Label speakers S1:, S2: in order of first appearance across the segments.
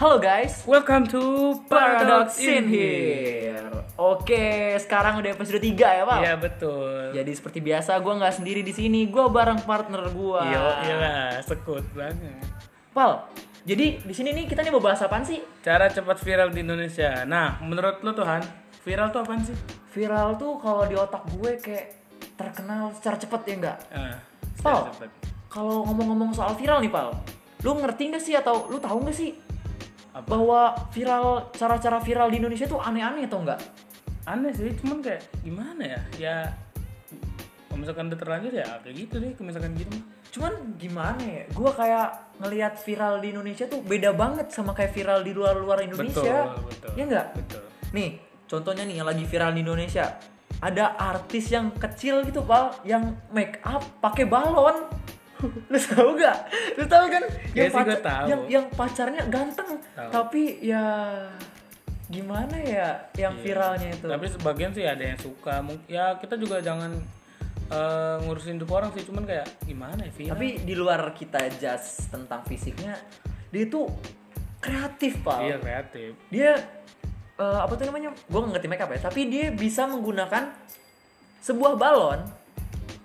S1: Halo guys,
S2: Welcome to
S1: Paradox in here. Oke, sekarang udah episode 3 ya, Pak.
S2: Iya betul.
S1: Jadi seperti biasa, gue nggak sendiri di sini, gue bareng partner gue.
S2: Iya, iya lah, sekut banget.
S1: Pal, jadi di sini nih kita nih mau bahas apaan sih?
S2: Cara cepat viral di Indonesia. Nah, menurut lo Tuhan, viral tuh apaan sih?
S1: Viral tuh kalau di otak gue kayak terkenal secara cepet ya enggak?
S2: Ah,
S1: Pal,
S2: cepet.
S1: kalau ngomong-ngomong soal viral nih, Pal, lu ngerti nggak sih atau lu tahu nggak sih
S2: Apa?
S1: bahwa viral cara-cara viral di Indonesia tuh aneh-aneh atau enggak?
S2: Aneh sih, cuman kayak gimana ya? Ya, kalau misalkan udah terlanjur ya kayak gitu deh, kalau misalkan gitu mah.
S1: Cuman gimana ya, gue kayak ngelihat viral di Indonesia tuh beda banget sama kayak viral di luar-luar Indonesia.
S2: Betul, betul.
S1: Ya enggak?
S2: Betul.
S1: Nih, contohnya nih yang lagi viral di Indonesia. Ada artis yang kecil gitu, Pak, yang make up pakai balon. Lu tahu gak? Lu tahu kan?
S2: Iya sih,
S1: pac-
S2: gua tahu.
S1: yang yang pacarnya ganteng,
S2: Tahu.
S1: tapi ya gimana ya yang
S2: Iya.
S1: viralnya itu?
S2: Tapi sebagian sih ada yang suka. Mung- Ya kita juga jangan eh, ngurusin hidup orang sih, cuman kayak gimana ya viral?
S1: Tapi di luar kita jas tentang fisiknya, dia itu kreatif, Pak.
S2: Iya kreatif.
S1: dia eh, apa tuh namanya gue nggak ngerti makeup ya tapi dia bisa menggunakan sebuah balon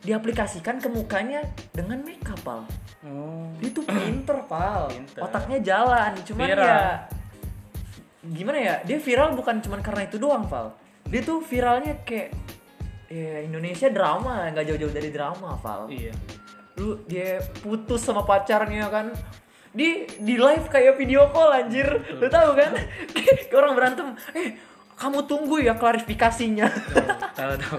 S1: diaplikasikan ke mukanya dengan makeup pal
S2: Oh.
S1: dia tuh pinter pal
S2: Pinter.
S1: otaknya jalan cuman
S2: Viral.
S1: ya gimana ya dia viral bukan cuman karena itu doang pal dia tuh viralnya kayak ya Indonesia drama nggak jauh-jauh dari drama pal
S2: Iya.
S1: lu dia putus sama pacarnya kan di di live kayak video call anjir lu tahu kan Kayak orang berantem eh kamu tunggu ya klarifikasinya
S2: tahu tahu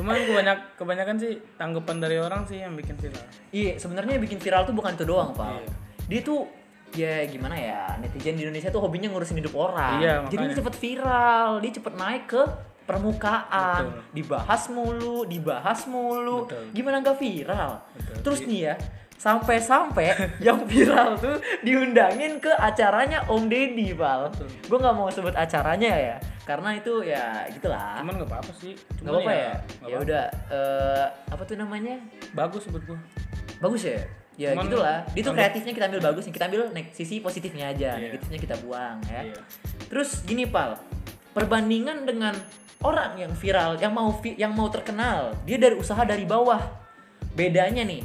S2: cuman kebanyak kebanyakan sih tanggapan dari orang sih yang bikin viral
S1: iya sebenarnya bikin viral tuh bukan itu doang pak
S2: Iya.
S1: dia tuh ya gimana ya netizen di Indonesia tuh hobinya ngurusin hidup orang
S2: Iya,
S1: jadi dia
S2: makanya.
S1: cepet viral dia cepet naik ke permukaan
S2: Betul.
S1: dibahas mulu dibahas mulu
S2: Betul.
S1: gimana nggak viral
S2: Betul. Iya.
S1: terus nih ya sampai-sampai yang viral tuh diundangin ke acaranya Om Deddy Val
S2: Betul.
S1: gue nggak mau sebut acaranya ya karena itu ya gitulah
S2: cuman nggak apa apa sih
S1: nggak
S2: cuman
S1: apa-apa ya
S2: nggak
S1: ya
S2: apa-apa.
S1: udah eh, apa tuh namanya
S2: bagus buat gua
S1: bagus ya ya
S2: Cuman-
S1: gitulah dia tuh
S2: Anggap-
S1: kreatifnya kita ambil bagusnya kita ambil nek sisi positifnya aja
S2: Iya.
S1: negatifnya kita buang ya
S2: Iya.
S1: terus gini pal perbandingan dengan orang yang viral yang mau vi- yang mau terkenal dia dari usaha dari bawah bedanya nih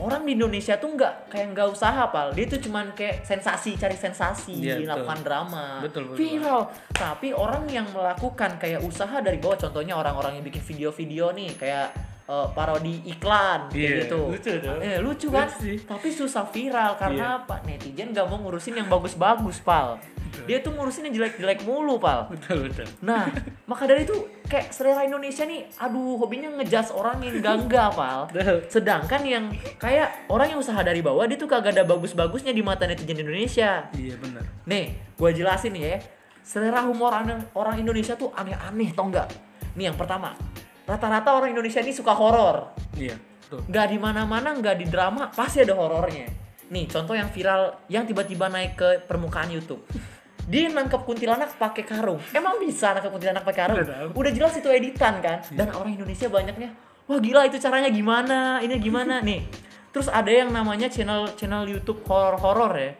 S1: orang di Indonesia tuh nggak kayak nggak usaha pal dia tuh cuman kayak sensasi cari sensasi
S2: Iya, betul.
S1: melakukan drama
S2: Betul, betul.
S1: viral tapi orang yang melakukan kayak usaha dari bawah contohnya orang-orang yang bikin video-video nih kayak eh, parodi iklan kayak
S2: Iya,
S1: gitu
S2: lucu tuh.
S1: Eh, lucu kan
S2: Lucu sih.
S1: tapi susah viral karena apa netizen gak mau ngurusin yang bagus-bagus pal dia tuh ngurusin yang jelek-jelek mulu pal
S2: betul betul
S1: nah maka dari itu kayak selera Indonesia nih aduh hobinya ngejas orang yang gak enggak pal
S2: Betul.
S1: sedangkan yang kayak orang yang usaha dari bawah dia tuh kagak ada bagus-bagusnya di mata netizen Indonesia
S2: iya benar
S1: Nih, gue jelasin nih ya. Selera humor an- orang Indonesia tuh aneh-aneh tau nggak? Nih yang pertama, rata-rata orang Indonesia ini suka horor.
S2: iya tuh
S1: Nggak di mana-mana, nggak di drama, pasti ada horornya. Nih contoh yang viral, yang tiba-tiba naik ke permukaan YouTube. Dia nangkep kuntilanak pakai karung. Emang bisa nangkep kuntilanak pakai karung?
S2: Udah tahu. Iya.
S1: Udah jelas itu editan kan? Dan orang Indonesia banyaknya, wah gila itu caranya gimana? Ini gimana nih? Terus ada yang namanya channel channel YouTube horor-horor ya.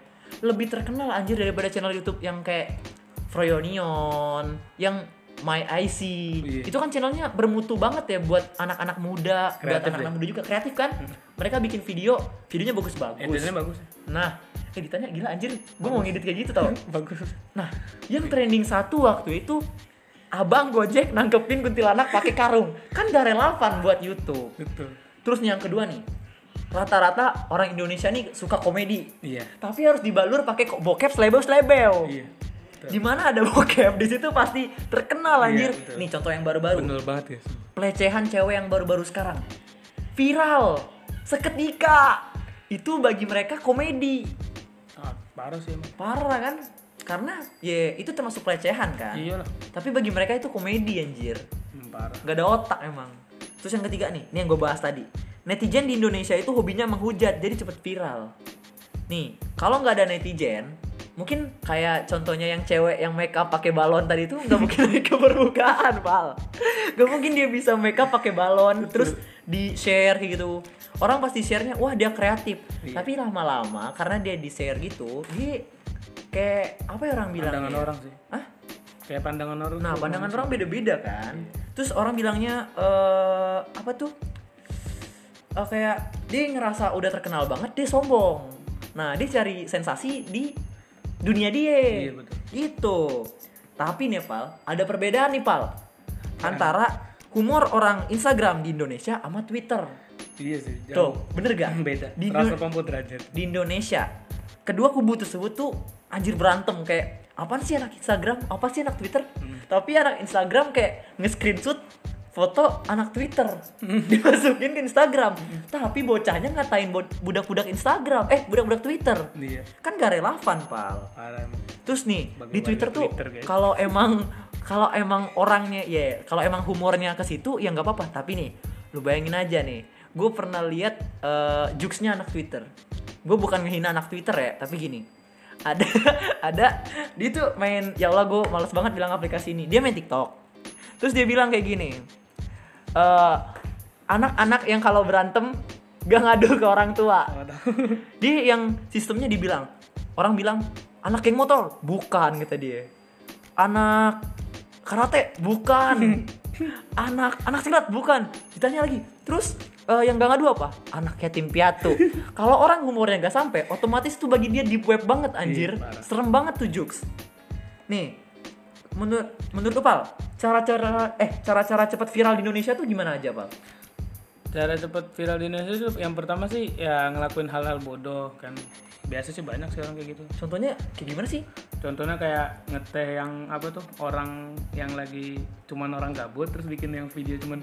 S1: Lebih terkenal anjir daripada channel YouTube yang kayak Froyonion, yang My IC.
S2: Iya.
S1: Itu kan channelnya bermutu banget ya buat anak-anak muda, buat
S2: Kreatif ya?
S1: anak-anak
S2: deh.
S1: muda juga kreatif kan?
S2: Hmm.
S1: Mereka bikin video, videonya
S2: editannya
S1: bagus-bagus.
S2: Eh, bagus
S1: Nah, editannya gila anjir, gue mau ngedit kayak gitu tau.
S2: Hmm. bagus
S1: Nah, yang trending satu waktu itu Abang Gojek nangkepin kuntilanak pakai karung. Kan gak relevan buat YouTube.
S2: betul
S1: Terus nih yang kedua nih. Rata-rata orang Indonesia nih suka komedi.
S2: iya
S1: Tapi harus dibalur pakai ko- bokep selebel-selebel.
S2: iya Betul.
S1: Dimana ada bokep di situ pasti terkenal anjir.
S2: Iya, betul.
S1: nih contoh yang baru-baru
S2: bener banget ya
S1: pelecehan cewek yang baru-baru sekarang viral seketika itu bagi mereka komedi
S2: ah, parah sih emang
S1: parah kan karena ya itu termasuk pelecehan kan
S2: iya lah
S1: tapi bagi mereka itu komedi anjir
S2: Hmm, parah
S1: nggak ada otak emang terus yang ketiga nih nih yang gue bahas tadi netizen di Indonesia itu hobinya menghujat jadi cepet viral nih kalau nggak ada netizen mungkin kayak contohnya yang cewek yang make up pakai balon tadi itu nggak mungkin naik ke permukaan pal nggak mungkin dia bisa make up pakai balon terus di share kayak gitu orang pasti sharenya wah dia kreatif
S2: Iya.
S1: tapi lama-lama karena dia di share gitu dia kayak apa ya orang bilang
S2: pandangan orang sih
S1: ah
S2: kayak pandangan orang
S1: nah
S2: tuh
S1: pandangan
S2: bagus.
S1: orang beda-beda kan
S2: Iya.
S1: terus orang bilangnya eh apa tuh Eh, kayak dia ngerasa udah terkenal banget dia sombong nah dia cari sensasi di dunia dia
S2: Iya, betul.
S1: gitu tapi nih pal ada perbedaan nih pal antara humor orang Instagram di Indonesia sama Twitter
S2: iya sih
S1: tuh
S2: jauh
S1: bener gak
S2: beda
S1: di,
S2: rasa
S1: Indo-
S2: pampu derajat
S1: di Indonesia kedua kubu tersebut tuh anjir berantem kayak apaan sih anak Instagram apa sih anak Twitter tapi anak Instagram kayak nge-screenshot foto anak Twitter dimasukin ke Instagram tapi bocahnya ngatain bo- budak-budak Instagram eh budak-budak Twitter
S2: iya
S1: kan gak relevan pal
S2: parah emang.
S1: terus nih
S2: Bagi-bagi
S1: di Twitter tuh
S2: Twitter, guys.
S1: kalau emang kalau emang orangnya ya kalau emang humornya ke situ ya nggak apa-apa tapi nih lu bayangin aja nih gue pernah lihat eh, jokesnya anak Twitter gue bukan ngehina anak Twitter ya tapi gini ada ada dia tuh main ya Allah gue males banget bilang aplikasi ini dia main TikTok terus dia bilang kayak gini eh, anak-anak yang kalau berantem gak ngadu ke orang tua
S2: Nggak tahu
S1: dia yang sistemnya dibilang orang bilang anak geng motor bukan kata dia anak karate bukan anak anak silat bukan ditanya lagi terus eh, yang gak ngadu apa anak yatim piatu kalau orang humornya gak sampai otomatis tuh bagi dia deep web banget anjir
S2: Iya, parah.
S1: serem banget tuh jokes nih menurut menurut lu, pal cara-cara eh cara-cara cepat viral di Indonesia tuh gimana aja pal
S2: cara cepat viral di Indonesia tuh yang pertama sih ya ngelakuin hal-hal bodoh kan biasa sih banyak sekarang kayak gitu
S1: contohnya kayak gimana sih
S2: contohnya kayak ngeteh yang apa tuh orang yang lagi cuman orang gabut terus bikin yang video cuman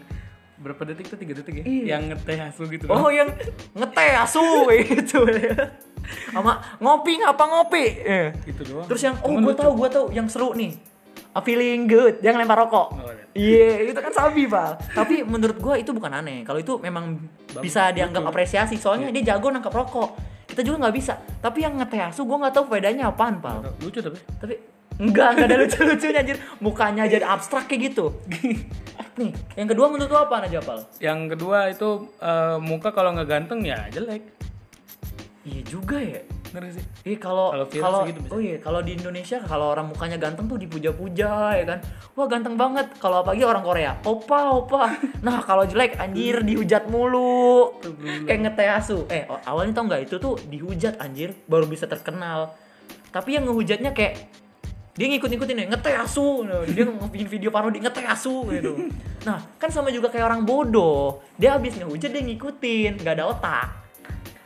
S2: berapa detik tuh tiga detik ya
S1: Iya.
S2: yang ngeteh asu gitu
S1: Oh yang ngeteh asu gitu sama ngopi apa ngopi. Eh.
S2: gitu doang
S1: Terus yang oh gue tahu gue tahu yang seru nih. A feeling good, jangan lempar rokok.
S2: Oh, iya.
S1: Iya, itu kan sabi, Pak. Tapi menurut gue itu bukan aneh. Kalau itu memang bisa dianggap apresiasi soalnya dia jago nangkap rokok. Kita juga nggak bisa. Tapi yang ngeteh asu gue nggak tahu bedanya apaan, Pak
S2: lucu tapi
S1: tapi enggak enggak ada lucu-lucunya anjir mukanya jadi abstrak kayak gitu nih yang kedua menurut lu apa aja pal
S2: yang kedua itu eh, muka kalau nggak ganteng ya jelek
S1: iya juga ya
S2: Bener sih
S1: Iya kalau
S2: Kalau viral
S1: kalau
S2: segitu bisa.
S1: oh iya kalau di Indonesia kalau orang mukanya ganteng tuh dipuja-puja ya kan. Wah ganteng banget. Kalau apalagi orang Korea, opa opa. Nah kalau jelek anjir dihujat mulu. Kayak ngeteh asu. Eh o- awalnya tau nggak itu tuh dihujat anjir baru bisa terkenal. Tapi yang ngehujatnya kayak dia ngikut-ngikutin ya ngeteh asu. Nah, Dia bikin video parodi ngeteh asu gitu. Nah kan sama juga kayak orang bodoh. Dia habis ngehujat dia ngikutin nggak ada otak.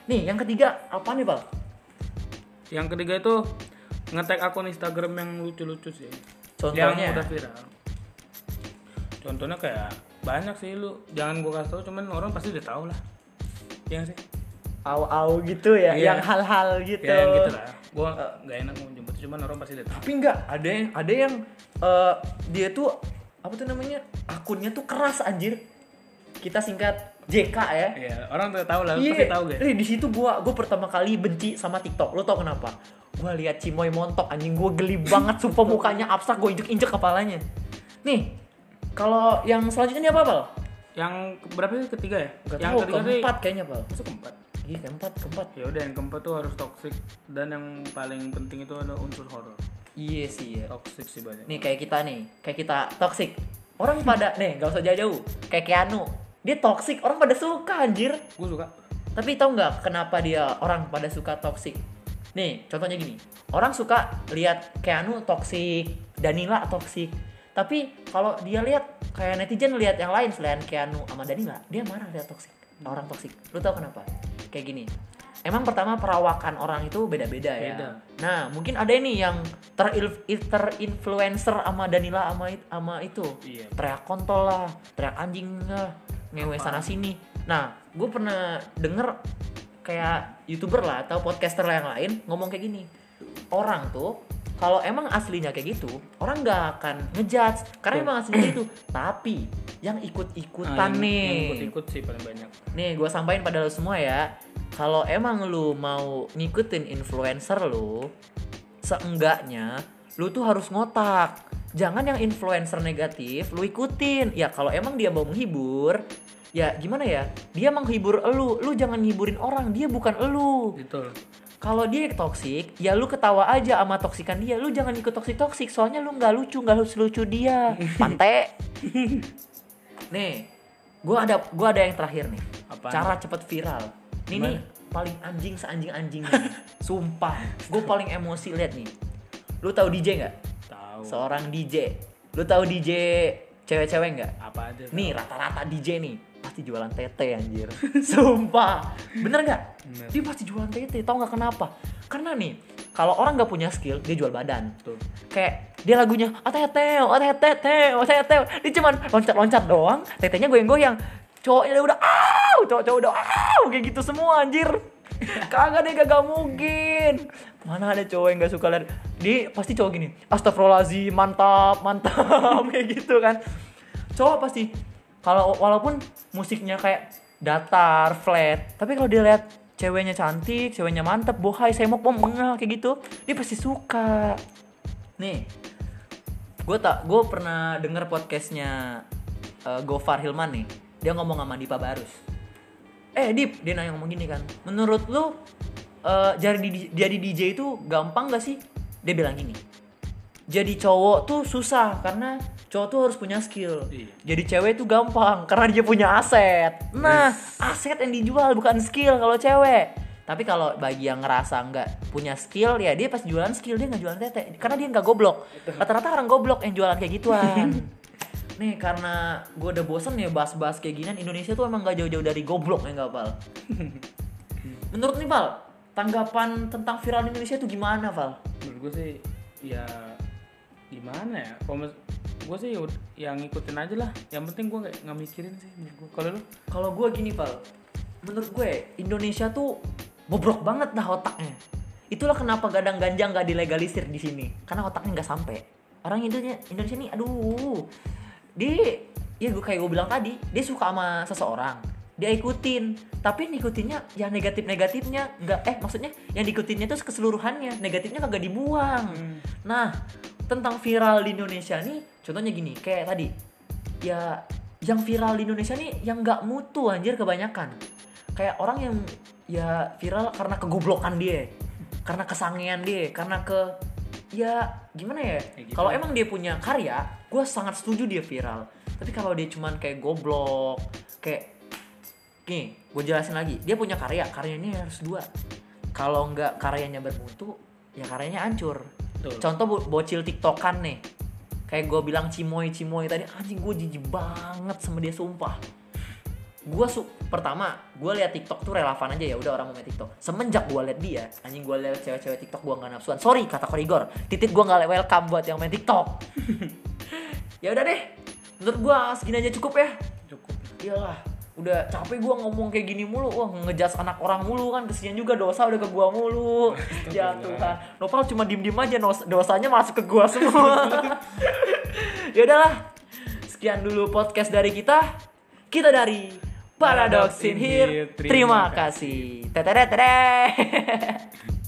S1: Nih yang ketiga apa nih bal?
S2: yang ketiga itu ngetek akun Instagram yang lucu-lucu sih
S1: Contohnya?
S2: yang udah viral contohnya kayak banyak sih lu jangan gua kasih tau cuman orang pasti udah tau lah iya nggak sih
S1: au-au gitu ya,
S2: Iya.
S1: yang hal-hal gitu. Eh.
S2: ya yang gitu lah gua nggak enak mau jemput cuman orang pasti udah tau
S1: Tapi enggak, ada yang ada yang eh, dia tuh apa tuh namanya? Akunnya tuh keras anjir. Kita singkat JK ya.
S2: ya orang udah tau lah lu
S1: Iya.
S2: pasti tau gak
S1: Eh, di situ gua gua pertama kali benci sama TikTok. Lo tau kenapa? Gua lihat Cimoy montok anjing gua geli banget sumpah mukanya abstrak gua injek-injek kepalanya. Nih, kalau yang selanjutnya ini apa, Pal?
S2: yang ke- berapa sih ketiga ya
S1: Gak
S2: yang
S1: tahu,
S2: ketiga
S1: keempat kayaknya, Pal.
S2: sih masuk keempat
S1: Iya, keempat, keempat.
S2: ya udah yang keempat tuh harus toxic dan yang paling penting itu ada unsur horor
S1: Iya sih ya.
S2: toxic sih banyak
S1: nih kayak kita nih kayak kita toxic orang pada nih gak usah jauh-jauh kayak Keanu dia toxic orang pada suka anjir
S2: gua suka
S1: tapi tau nggak kenapa dia orang pada suka toxic nih contohnya gini orang suka lihat Keanu toxic Danila toxic tapi kalau dia lihat kayak netizen lihat yang lain selain Keanu sama Danila dia marah lihat toxic orang toxic lu tau kenapa kayak gini emang pertama perawakan orang itu beda-beda ya
S2: Beda.
S1: nah mungkin ada ini yang teril- terinfluencer sama Danila sama it- sama itu
S2: Iya.
S1: teriak kontol lah teriak anjing lah ngewe sana sini nah gue pernah denger kayak youtuber lah atau podcaster lah yang lain ngomong kayak gini orang tuh kalau emang aslinya kayak gitu orang nggak akan ngejudge karena emang aslinya itu tapi yang
S2: Ah,
S1: ikut-ikutan
S2: yang-
S1: nih
S2: yang ikut-ikut sih paling banyak
S1: Nih gue sampaikan pada lo semua ya kalau emang lu mau ngikutin influencer lu Seenggaknya lu tuh harus ngotak Jangan yang influencer negatif lu ikutin Ya kalau emang dia mau menghibur ya gimana ya dia menghibur elu lu jangan nghiburin orang dia bukan elu
S2: Betul.
S1: kalau dia toksik ya lu ketawa aja sama toksikan dia lu jangan ikut toksik toksik soalnya lu nggak lucu nggak lucu lucu dia pante nih gua ada gua ada yang terakhir nih
S2: Apaan?
S1: cara cepet viral ini nih paling anjing seanjing anjingnya nih. sumpah gue paling emosi liat nih lu tahu DJ nggak
S2: Tahu.
S1: seorang DJ lu tahu DJ cewek-cewek nggak
S2: apa aja? tuh?
S1: Nih rata-rata DJ nih pasti jualan tete anjir. Sumpah. Bener nggak?
S2: Bener.
S1: Dia pasti jualan tete. Tau nggak kenapa? Karena nih kalau orang nggak punya skill dia jual badan.
S2: Betul.
S1: Kayak dia lagunya otete otete otete dia cuman loncat-loncat doang. Tetenya goyang-goyang. Cowoknya udah aw, cowok-cowok udah aw kayak gitu semua anjir. Kagak deh, kagak mungkin. Mana ada cowok yang gak suka lihat Dia pasti cowok gini Astagfirullahaladzim, mantap, mantap Kayak gitu kan cowok pasti kalau walaupun musiknya kayak datar flat tapi kalau dia lihat ceweknya cantik ceweknya mantep bohai saya mau pom mengenal kayak gitu dia pasti suka nih gue tak gue pernah denger podcastnya eh, Gofar Hilman nih dia ngomong sama Dipa Barus eh Dip dia nanya ngomong gini kan menurut lu eh, jadi di- jadi DJ itu gampang gak sih dia bilang gini jadi cowok tuh susah karena cowok tuh harus punya skill.
S2: Iya.
S1: Jadi cewek tuh gampang karena dia punya aset. Nah, aset yang dijual bukan skill kalau cewek. Tapi kalau bagi yang ngerasa nggak punya skill ya dia pas jualan skill dia nggak jualan tete karena dia nggak goblok. Rata-rata orang goblok yang jualan kayak gituan. Nih karena gue udah bosen ya bahas-bahas kayak ginian Indonesia tuh emang gak jauh-jauh dari goblok ya nggak Val? Menurut nih Val, tanggapan tentang viral di Indonesia tuh gimana Val?
S2: Menurut gue sih ya gimana ya? Kalau gue sih ya ud- yang ngikutin aja lah. Yang penting gue nggak nggak mikirin sih. menurut gua. Kalau lu?
S1: Kalau gue gini, Pal. Menurut gue, Indonesia tuh bobrok banget dah otaknya. Itulah kenapa gadang ganjang gak dilegalisir di sini. Karena otaknya nggak sampai. Orang Indonesia, Indonesia nih, aduh. Dia, ya gue kayak gue bilang tadi, dia suka sama seseorang. Dia ikutin, tapi ngikutinnya yang ya negatif-negatifnya nggak eh maksudnya yang diikutinnya tuh keseluruhannya, negatifnya kagak dibuang. Nah, tentang viral di Indonesia nih, contohnya gini, kayak tadi. Ya, yang viral di Indonesia nih yang nggak mutu anjir kebanyakan. Kayak orang yang ya viral karena kegoblokan dia, karena kesangean dia, karena ke ya gimana ya?
S2: Ya gitu.
S1: Kalau emang dia punya karya, gue sangat setuju dia viral. Tapi kalau dia cuman kayak goblok, kayak Nih, gue jelasin lagi. Dia punya karya, karyanya harus dua. Kalau nggak karyanya bermutu, ya karyanya hancur.
S2: Betul.
S1: Contoh bo- bocil tiktokan nih. Kayak gue bilang cimoy cimoy tadi, anjing gue jijik banget sama dia sumpah. Gue su pertama, gue liat tiktok tuh relevan aja ya, udah orang mau main tiktok. Semenjak gue liat dia, anjing gue liat cewek-cewek tiktok gue nggak nafsuan. Sorry kata korigor, titit gue nggak welcome buat yang main tiktok. ya udah deh, menurut gue segini aja cukup ya
S2: Cukup.
S1: iyalah udah capek gua ngomong kayak gini mulu wah ngejas anak orang mulu kan kesian juga dosa udah ke gua mulu ya Tuhan Nopal cuma diem diem aja nos- dosanya masuk ke gua semua ya udahlah sekian dulu podcast dari kita kita dari Paradox in Here terima kasih tetere